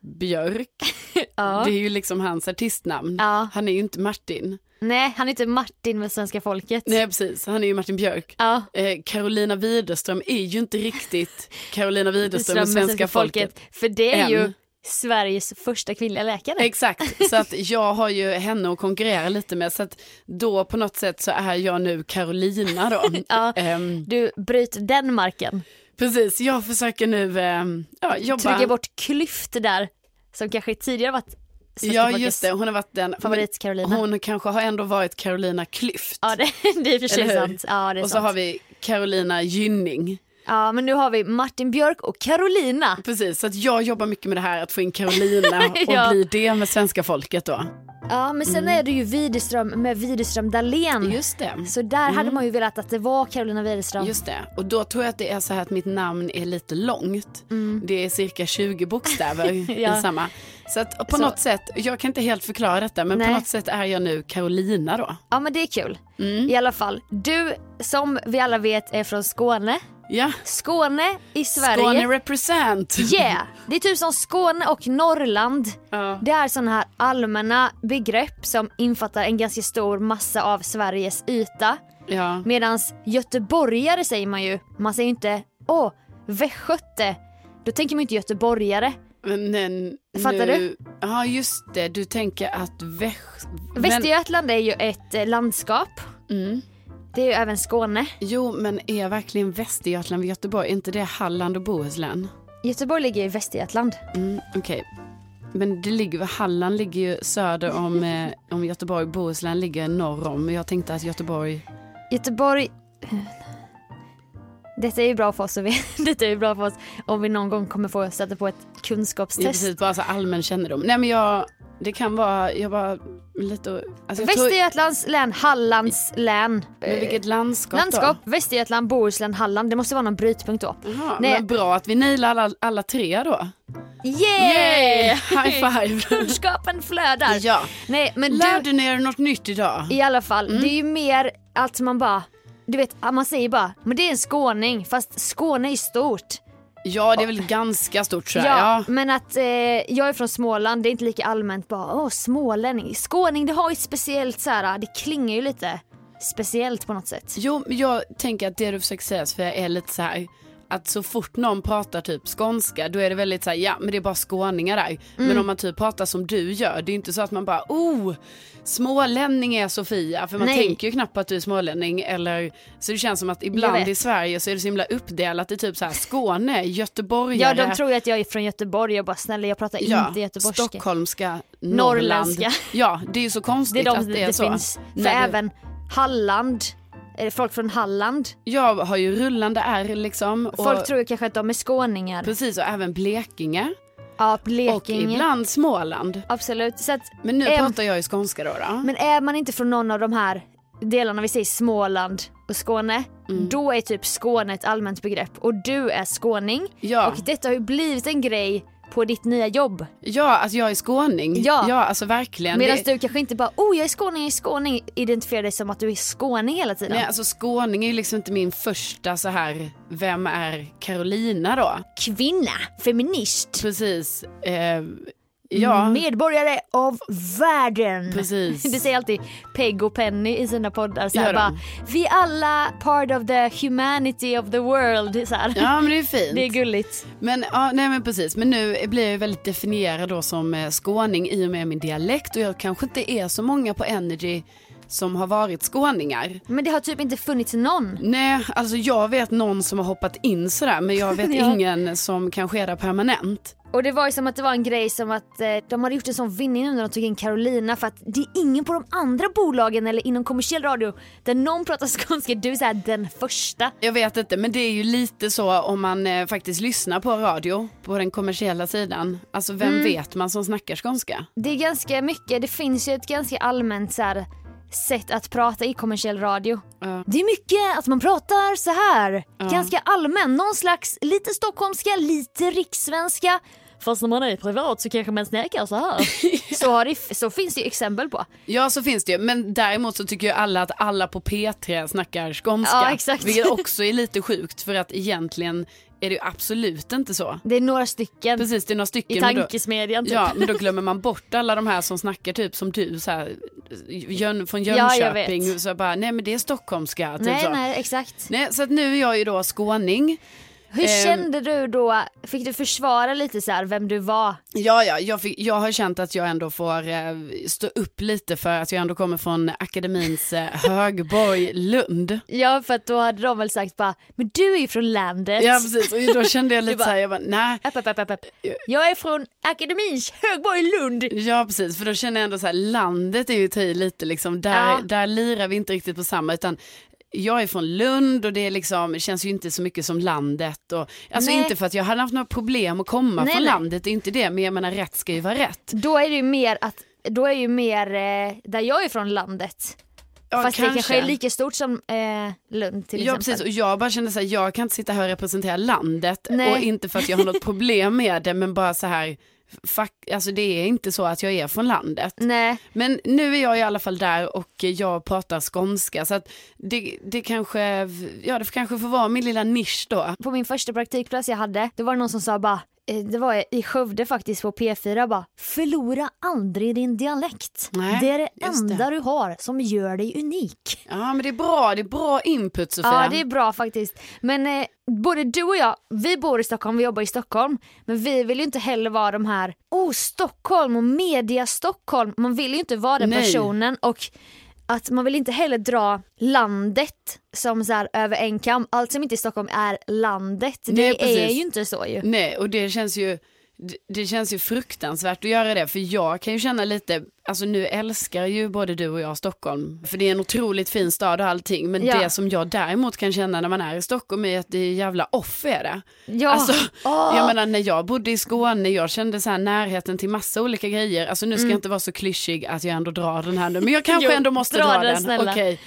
Björk, det är ju liksom hans artistnamn. Ja. Han är ju inte Martin. Nej, han är inte Martin med svenska folket. Nej precis, han är ju Martin Björk. Ja. Eh, Carolina Widerström är ju inte riktigt Carolina Widerström med svenska folket. För det är Än. ju Sveriges första kvinnliga läkare. Exakt, så att jag har ju henne att konkurrera lite med. Så att då på något sätt så är jag nu Carolina då. Ja. Ehm, Du bryter den marken. precis, jag försöker nu ehm, ja, jobba. Trycker bort klyft där som kanske tidigare varit svenska ja folkets just det, hon har varit den. Favorit Carolina. Hon kanske har ändå varit Carolina Klyft. Ja det, det är i och för sig Eller hur? sant. Ja, det är Och så sant. har vi Carolina Gynning. ja men nu har vi Martin Björk och Carolina. Precis, så att jag jobbar mycket med det här att få in Carolina och Ja. bli det med svenska folket då. Ja men sen är det ju Widerström med Widerström Dahlén. Mm. Just det. Mm. Så där hade man ju velat att det var Carolina Widerström. Just det, och då tror jag att det är så här att mitt namn är lite långt. Det är cirka 20 bokstäver Mm. Ja. i samma. Så att på Så- något sätt, jag kan inte helt förklara detta, men på Nej. något sätt är jag nu Carolina då. Ja men det är kul. Mm. I alla fall, du som vi alla vet är från Skåne. Ja, Skåne i Sverige. Skåne represent. Yeah! Det är typ som Skåne och Norrland. Ja. Det är sådana här allmänna begrepp som infattar en ganska stor massa av Sveriges yta. Ja. Medan göteborgare säger man ju, man säger ju inte åh, västgöte. Då tänker man ju inte göteborgare. Men, men, nu... Fattar du? Ja, just det, du tänker att väst... Västergötland är ju ett eh, landskap. Mm. Det är ju även Skåne. Jo, men är verkligen Västergötland vid Göteborg, är inte det Halland och Bohuslän? Göteborg ligger i Västergötland. Mm, Okej, Men det ligger väl, Halland ligger ju söder om, eh, om Göteborg, Bohuslän ligger norr om. Men jag tänkte att Göteborg, Göteborg... Detta är ju bra för oss, och vi, detta är ju bra för oss om vi någon gång kommer få sätta på ett det är precis kunskapstest. bara så allmän kännedom. Nej men jag, det kan vara, jag bara lite, alltså jag tror, Västergötlands län, Hallands län. men Eh, vilket landskap, Landskap, då? Mm. Västergötland, Bohuslän, Halland. Det måste vara någon brytpunkt då. Jaha, Nej. men bra att vi nailade alla, alla tre då. Yay! High five! Kunskapen flödar. ja. Nej Alltså, men du, Lärde ni er något nytt idag? i alla fall, Mm. det är ju mer att man bara, du vet man säger bara, men det är en skåning fast Skåne är ju stort. Ja det är väl ganska stort tror jag. Ja, Ja. men att eh, jag är från Småland, det är inte lika allmänt bara åh smålänning. Skåning det har ju ett speciellt så här, det klingar ju lite speciellt på något sätt. Jo, men jag tänker att det du försöker säga för jag är lite så här att så fort någon pratar typ skånska då är det väldigt så här, ja men det är bara skåningar där. Mm. Men om man typ pratar som du gör, det är inte så att man bara oh smålänning är Sofia för man Nej. tänker ju knappt att du är smålänning eller så det känns som att Jag ibland vet. i Sverige så är det så himla uppdelat i typ så här Skåne, Ja göteborgare, de tror ju att jag är från Göteborg, jag bara snälla jag pratar ja, inte göteborgska. stockholmska, Norrländska. Norrland. Ja det är ju så Det är konstigt de att det, det är så. finns. För När du- även Halland, eh, folk från Halland, Jag har ju rullande R liksom. Och folk tror ju kanske att de är skåningar. Precis, och även Blekinge. Ja, Och Blekinge. ibland Småland. Absolut. Så att, Men nu Äm. pratar jag ju skånska då. då. men är man inte från någon av de här delarna, vi säger Småland och Skåne, Mm. då är typ Skåne ett allmänt begrepp och du är skåning. ja, Och detta har ju blivit en grej på ditt nya jobb. ja, alltså jag är skåning. Ja. alltså verkligen. Medan Det- du kanske inte bara oh jag är skåning, jag är skåning, identifierar dig som att du är skåning hela tiden. Nej, alltså skåning är ju liksom inte min första så här, vem är Carolina då? Kvinna, feminist, Precis. Eh, ja, medborgare av världen. precis. Mm. Det säger alltid Peg och Penny i sina poddar så Gör här, de? bara, Vi är alla part of the humanity of the world. Så här. Ja men det är fint. Det är gulligt. Men, ja, nej, men precis. Men nu blir jag ju väldigt definierad då som eh, skåning i och med min dialekt och jag kanske inte är så många på Energy som har varit skåningar. Men det har typ inte funnits någon. Nej, alltså jag vet någon som har hoppat in sådär men jag vet Ja. ingen som kanske är där permanent. Och det var ju som att det var en grej som att eh, de hade gjort en sån vinning nu när de tog in Carolina för att det är ingen på de andra bolagen eller inom kommersiell radio där någon pratar skånska. Du är såhär den första. Jag vet inte men det är ju lite så om man eh, faktiskt lyssnar på radio på den kommersiella sidan. Alltså vem Mm. vet man som snackar skånska? Det är ganska mycket, det finns ju ett ganska allmänt så här, sätt att prata i kommersiell radio. Ja. Det är mycket att man pratar så här. Ganska allmän, någon slags lite stockholmska, lite rikssvenska. Fast när man är privat så kanske man snackar så här. så, har det, så finns det ju exempel på. Ja så finns det ju men däremot så tycker ju alla att alla på P3 snackar skånska. Ja, exakt. Vilket också är lite sjukt för att egentligen är det ju absolut inte så. Det är några stycken Precis det är några stycken. i men då- tankesmedjan typ. Ja, men då glömmer man bort alla de här som snackar typ som du, så här, Jön, från Ja, jag Jönköping. vet. så jag bara, nej men det är stockholmska. Typ nej, så. nej, exakt. Nej, så att nu är jag ju då skåning. Hur Ehm. kände du då? Fick du försvara lite så här vem du var? Ja, ja, jag, fick, jag har känt att jag ändå får eh, stå upp lite för att jag ändå kommer från akademins eh, högborg Lund. Ja, för att då hade de väl sagt bara, men du är ju från landet. Ja, precis. Och då kände jag Du lite bara- så här, jag bara, nej. App, app, app, app, app. Jag är från akademins Högborg Lund. Ja precis, för då känner jag ändå så här, landet är ju att ta i lite liksom, där, Ja. där lirar vi inte riktigt på samma utan jag är från Lund och det är liksom, det känns ju inte så mycket som landet. Och, alltså Nej. inte för att jag hade haft några problem att komma Nej, från nej. landet, det är inte det, men jag menar rätt ska ju vara rätt. Då är det ju mer att, då är ju mer eh, där jag är från landet. Ja, Fast det kanske är lika stort som eh, Lund till Ja exempel. precis och jag bara kände så här, jag kan inte sitta här och representera landet Nej. och inte för att jag har något problem med det men bara så här, fuck, alltså det är inte så att jag är från landet. Nej, Men nu är jag i alla fall där och jag pratar skånska så att det, det kanske, ja det kanske får vara min lilla nisch då. på min första praktikplats jag hade, då var det någon som sa bara eh, det var i Skövde faktiskt på P4 bara Förlora aldrig din dialekt. Nej, det är det just det. enda du har som gör dig unik. Ja men det är bra, det är bra input Sofia. Ja det är bra faktiskt. Men eh, både du och jag, vi bor i Stockholm, vi jobbar i Stockholm. Men vi vill ju inte heller vara de här, oh Stockholm och media Stockholm. Man vill ju inte vara den Nej. personen och att man vill inte heller dra landet som så här över en kam. Allt som inte är Stockholm är landet. Det Nej, precis. är ju inte så ju. Nej och det känns ju det, det känns ju fruktansvärt att göra det, för jag kan ju känna lite, alltså nu älskar ju både du och jag Stockholm, för det är en otroligt fin stad och allting, men Ja. det som jag däremot kan känna när man är i Stockholm är att det är jävla off är det. Ja. Ah. Alltså, Åh. Jag menar när jag bodde i Skåne, jag kände så här närheten till massa olika grejer, alltså nu ska jag inte vara så klyschig att jag ändå drar den här nu, men jag kanske Mm. Jo, ändå måste dra dra, den, den. snälla. Okej.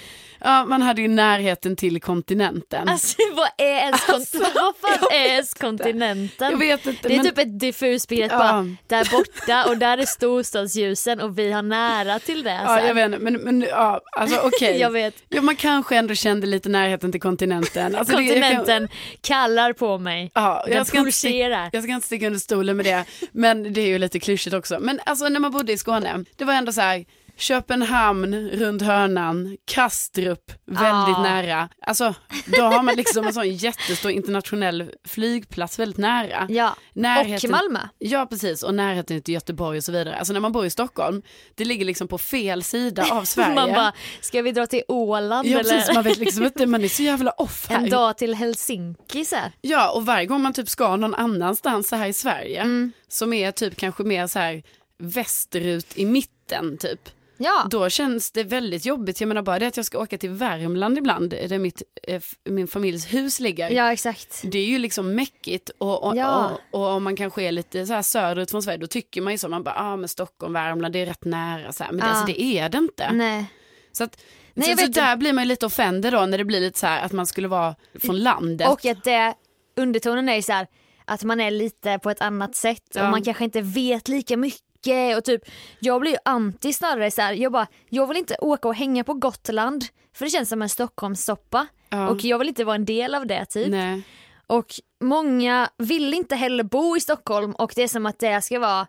Ja, man hade ju närheten till kontinenten. Alltså vad är ens kon- Alltså, vad fan är ens kontinenten? jag vet inte, det är men- typ ett diffust begrepp Ja. bara, där borta och där är storstadsljusen och vi har nära till det. Ja, så här. jag vet inte, men, men ja, alltså okej. Jag vet. Ja, man kanske ändå kände lite närheten till kontinenten. Alltså, det- jag kan- Kontinenten kallar på mig. Ja, Den jag ska, inte pulserar. sticka, jag ska inte sticka under stolen med det, men det är ju lite klyschigt också. Men alltså när man bodde i Skåne, det var ändå så här, Köpenhamn runt hörnan, Kastrup väldigt Ja. nära. Alltså då har man liksom en sån jättestor internationell flygplats väldigt nära. Ja. Närheten- Och Malmö. Ja precis och närheten till Göteborg och så vidare. Alltså när man bor i Stockholm, det ligger liksom på fel sida av Sverige. Man bara, ska vi dra till Åland Ja eller? precis, man vet liksom inte, man är så jävla off här. En dag till Helsinki så här. Ja, och varje gång man typ ska någon annanstans så här i Sverige, Mm. som är typ kanske mer så här västerut i mitten typ, Ja. då känns det väldigt jobbigt. Jag menar bara det att jag ska åka till Värmland ibland, där mitt, eh, f- min familjs hus ligger. ja, exakt. Det är ju liksom mäckigt och, och, Ja. och, och om man kanske är lite så här söderut från Sverige då tycker man ju så, man bara, ah, men Stockholm, Värmland, det är rätt nära så här. men det, Ja. alltså, det är det inte. Nej. Så, att, Nej, jag så, så vet inte. där blir man ju lite offender då när det blir lite så här att man skulle vara från landet. Och att det, undertonen är ju så här, att man är lite på ett annat sätt och Ja. man kanske inte vet lika mycket och typ jag blir ju anti snarare så här, jag bara jag vill inte åka och hänga på Gotland för det känns som en Stockholmssoppa Ja. och jag vill inte vara en del av det typ. Nej. Och många vill inte heller bo i Stockholm och det är som att det ska vara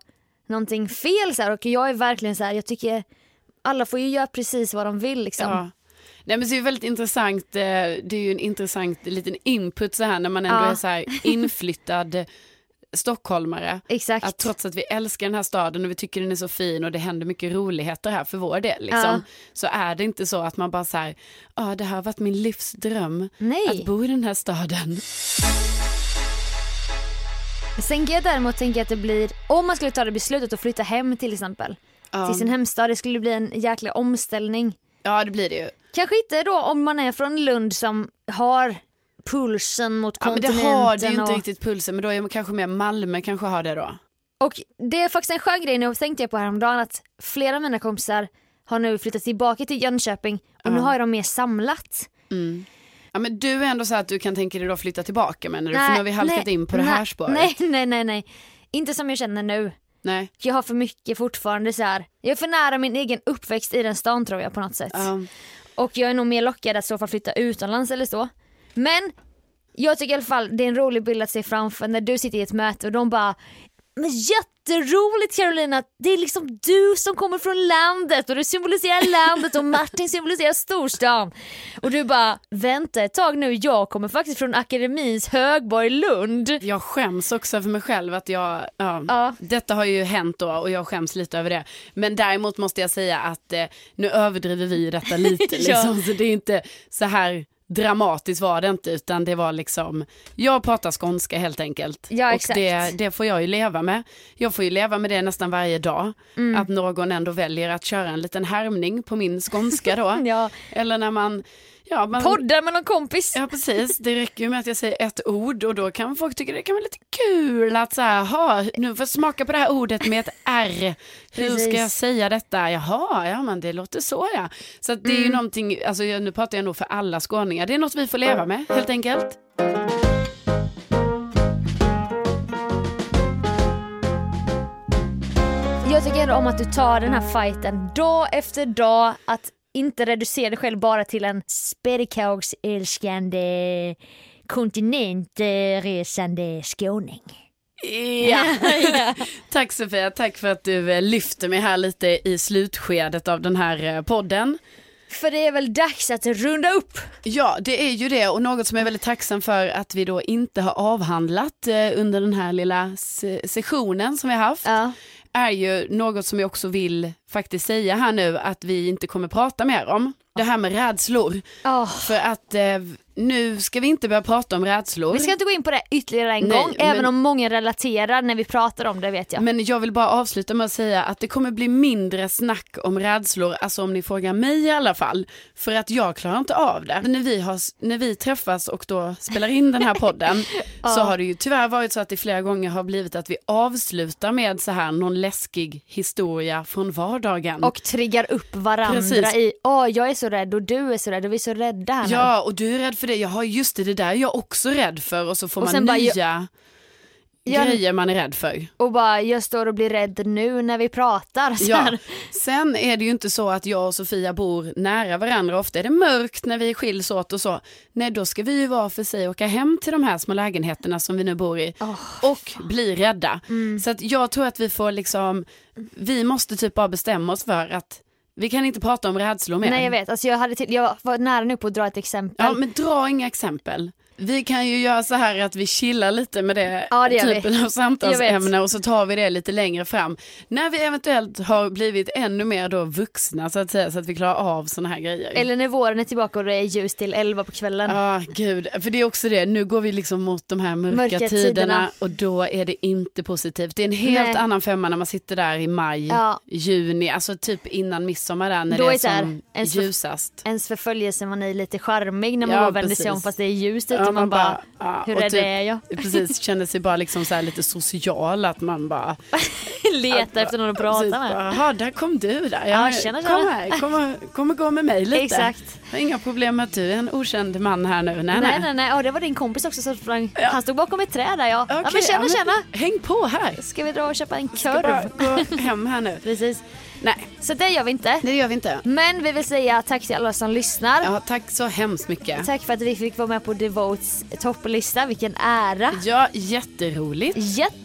någonting fel så här. och jag är verkligen så här, jag tycker alla får ju göra precis vad de vill liksom. Ja. Nej, men så är det är väldigt intressant, eh, det är ju en intressant liten input så här när man ändå Ja. är så här inflyttad stockholmare. Exakt. Att trots att vi älskar den här staden och vi tycker den är så fin och det händer mycket roligheter här för vår del, liksom, Ja. så är det inte så att man bara så här, ja det här har varit min livsdröm Nej. att bo i den här staden. Sen kan jag däremot tänka att det blir, om man skulle ta det beslutet att flytta hem till exempel, Ja. till sin hemstad, det skulle bli en jäkla omställning. Ja det blir det ju. Kanske inte då om man är från Lund som har pulsen mot Ja, men det kontinenten. har det ju och, inte riktigt pulsen, men då är man kanske mer Malmö kanske har det då. och det är faktiskt en skön grej nu, tänkte jag på häromdagen, att flera av mina kompisar har nu flyttat tillbaka till Jönköping och nu har ju de mer samlat. Ja, men du är ändå så här att du kan tänka dig då flytta tillbaka menar du? För nu har vi halkat in på det här nej, spåret. Nej, nej, nej, nej. Inte som jag känner nu. nej. Jag har för mycket fortfarande så här. jag är för nära min egen uppväxt i den stan tror jag på något sätt. Ja. Och jag är nog mer lockad att i så fall flytta utomlands eller så. Men jag tycker i alla fall det är en rolig bild att se framför när du sitter i ett möte och de bara men jätteroligt Carolina, det är liksom du som kommer från landet och du symboliserar landet och Martin symboliserar storstan. Och du bara, vänta ett tag nu, jag kommer faktiskt från akademins högborg Lund. Jag skäms också över mig själv att jag, ja, Ja. detta har ju hänt då och jag skäms lite över det. Men däremot måste jag säga att eh, nu överdriver vi ju detta lite Ja. liksom, så det är inte så här dramatiskt var det inte utan det var liksom, jag pratar skånska helt enkelt. Ja, och exakt. Det, det får jag ju leva med. Jag får ju leva med det nästan varje dag, Mm. att någon ändå väljer att köra en liten härmning på min skånska då. Ja. Eller när man, ja, man Poddar med någon kompis. Ja precis, det räcker ju med att jag säger ett ord och då kan folk tycka det kan vara lite kul att så här, "Ha, nu får jag smaka på det här ordet med ett R. Hur Precis. ska jag säga detta? Jaha, ja men det låter så ja. Så att det är ju någonting, alltså jag, nu pratar jag nog för alla skåningar, det är något vi får leva med helt enkelt. Jag tycker ändå om att du tar den här fighten dag efter dag, att inte reducera dig själv bara till en spedikagsälskande kontinentresande skåning. Ja. tack Sofia, tack för att du eh, lyfter mig här lite i slutskedet av den här eh, podden. För det är väl dags att runda upp? Ja, det är ju det och något som jag är väldigt tacksam för att vi då inte har avhandlat eh, under den här lilla se- sessionen som vi har haft Ja. är ju något som jag också vill faktiskt säga här nu att vi inte kommer prata mer om. Det här med rädslor. Oh, För att eh, nu ska vi inte börja prata om rädslor. Vi ska inte gå in på det ytterligare en Nej, gång, även men- om många relaterar när vi pratar om det vet jag. Men jag vill bara avsluta med att säga att det kommer bli mindre snack om rädslor, alltså om ni frågar mig i alla fall, för att jag klarar inte av det. När vi, har, när vi träffas och då spelar in den här podden så har det ju tyvärr varit så att det flera gånger har blivit att vi avslutar med så här någon läskig historia från vardagen. Och triggar upp varandra Precis. i, åh jag är så rädd och du är så rädd och vi är så rädda här nu. Ja, och du är rädd för det. Jaha, just det, det där är jag också rädd för. Och så får Och man sen bara, nya jag- grejer man är rädd för. Och bara, jag står och blir rädd nu när vi pratar. Så Ja. här. Sen är det ju inte så att jag och Sofia bor nära varandra. Ofta är det mörkt när vi skiljs åt och så. Nej, då ska vi ju vara för sig och åka hem till de här små lägenheterna som vi nu bor i och bli rädda. Mm. Så att jag tror att vi får liksom, vi måste typ bara bestämma oss för att vi kan inte prata om rädslor mer. Nej jag vet, alltså jag, hade till, jag var nära nu på att dra ett exempel. Ja, men dra inga exempel. Vi kan ju göra så här att vi chillar lite med det, Ja, det gör vi. typen av Jag samtalsämne och så tar vi det lite längre fram. När vi eventuellt har blivit ännu mer då vuxna så att säga, så att vi klarar av sådana här grejer. Eller när våren är tillbaka och det är ljus till 11 på kvällen. Ja, gud, för det är också det, nu går vi liksom mot de här mörka, Mörka tiderna, tiderna. och då är det inte positivt. Det är en helt Nej. annan femma när man sitter där i maj, Ja. juni, alltså typ innan midsommar där när Då det är, är så här, som en så- ljusast. Ens förföljelsemani är lite charmig när man Ja, bara vänder sig precis. om fast det är ljust ute Ja, och man bara, ja, hur och rädd typ- är jag? Precis, känner sig bara liksom så här lite social att man bara... Letar efter någon att prata precis, med. bara, Jaha, där kom du där. Ja, tjena, kom tjena." här, kom och, kom och gå med mig lite. Exakt. Jag har inga problem med att du är en okänd man här nu. Nej, Nej nej. nej nej, oh, det var din kompis också som sprang, han stod bakom ett träd där ja. ja Okej, men tjena tjena, Häng på här. ska vi dra och köpa en Ska bara korv? gå hem här nu. Precis. Nej, Så det gör vi inte. det gör vi inte. Men vi vill säga tack till alla som lyssnar. Ja, tack så hemskt mycket. Tack för att vi fick vara med på Devotes topplista, vilken ära. Ja, jätteroligt.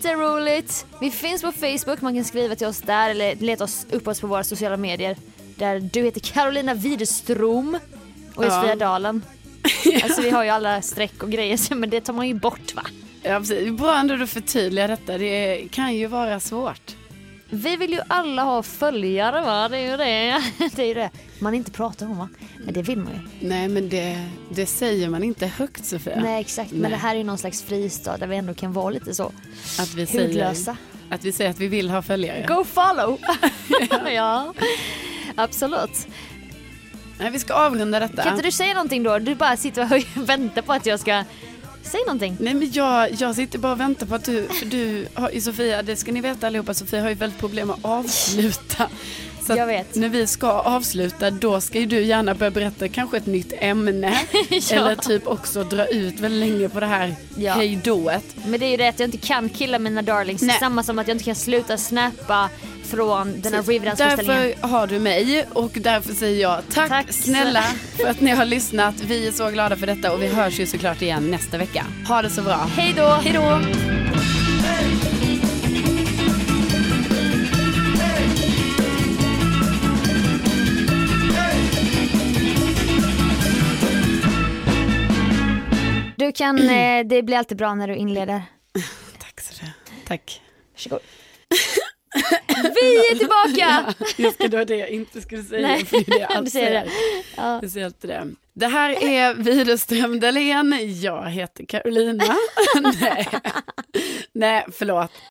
Jätteroligt! Vi finns på Facebook, man kan skriva till oss där eller leta oss upp oss på våra sociala medier. Där du heter Carolina Widerström och jag Ja. Sofia Dalen. Alltså vi har ju alla streck och grejer så- men det tar man ju bort va? Ja, precis. Bra ändå du förtydligar detta. Det kan ju vara svårt. Vi vill ju alla ha följare va, det är ju det. Det är ju det man inte pratar om va? Men det vill man ju. Nej, men det, det säger man inte högt, Sofia. Nej exakt, men Nej. det här är ju någon slags fristad där vi ändå kan vara lite så Att vi, säger, hudlösa. att vi säger att vi vill ha följare. Go follow! ja, absolut. Nej, vi ska avrunda detta. Kan inte du säga någonting då? Du bara sitter och höj- väntar på att jag ska säga någonting. Nej men jag, jag sitter bara och väntar på att du, för du har ju Sofia, det ska ni veta allihopa, Sofia har ju väldigt problem att avsluta. Så att Jag vet. när vi ska avsluta då ska ju du gärna börja berätta kanske ett nytt ämne. Ja. Eller typ också dra ut väldigt länge på det här Ja. hejdået. Men det är ju det att jag inte kan killa mina darlings. Nej. Samma som att jag inte kan sluta snappa från den här Riverdance-föreställningen. Därför har du mig och därför säger jag tack, Tack. snälla för att ni har lyssnat. Vi är så glada för detta och vi hörs ju såklart igen nästa vecka. Ha det så bra. Hej då! Hej då! Du kan, eh, det blir alltid bra när du inleder. Tack så du Tack. Varsågod. Vi är tillbaka! Just det, det var det jag inte skulle säga. Nej, för det är det jag du alltid säger det. säger. Ja. Speciellt det. Det här är Widerström Dahlén. Jag heter Carolina. Nej. Nej, förlåt.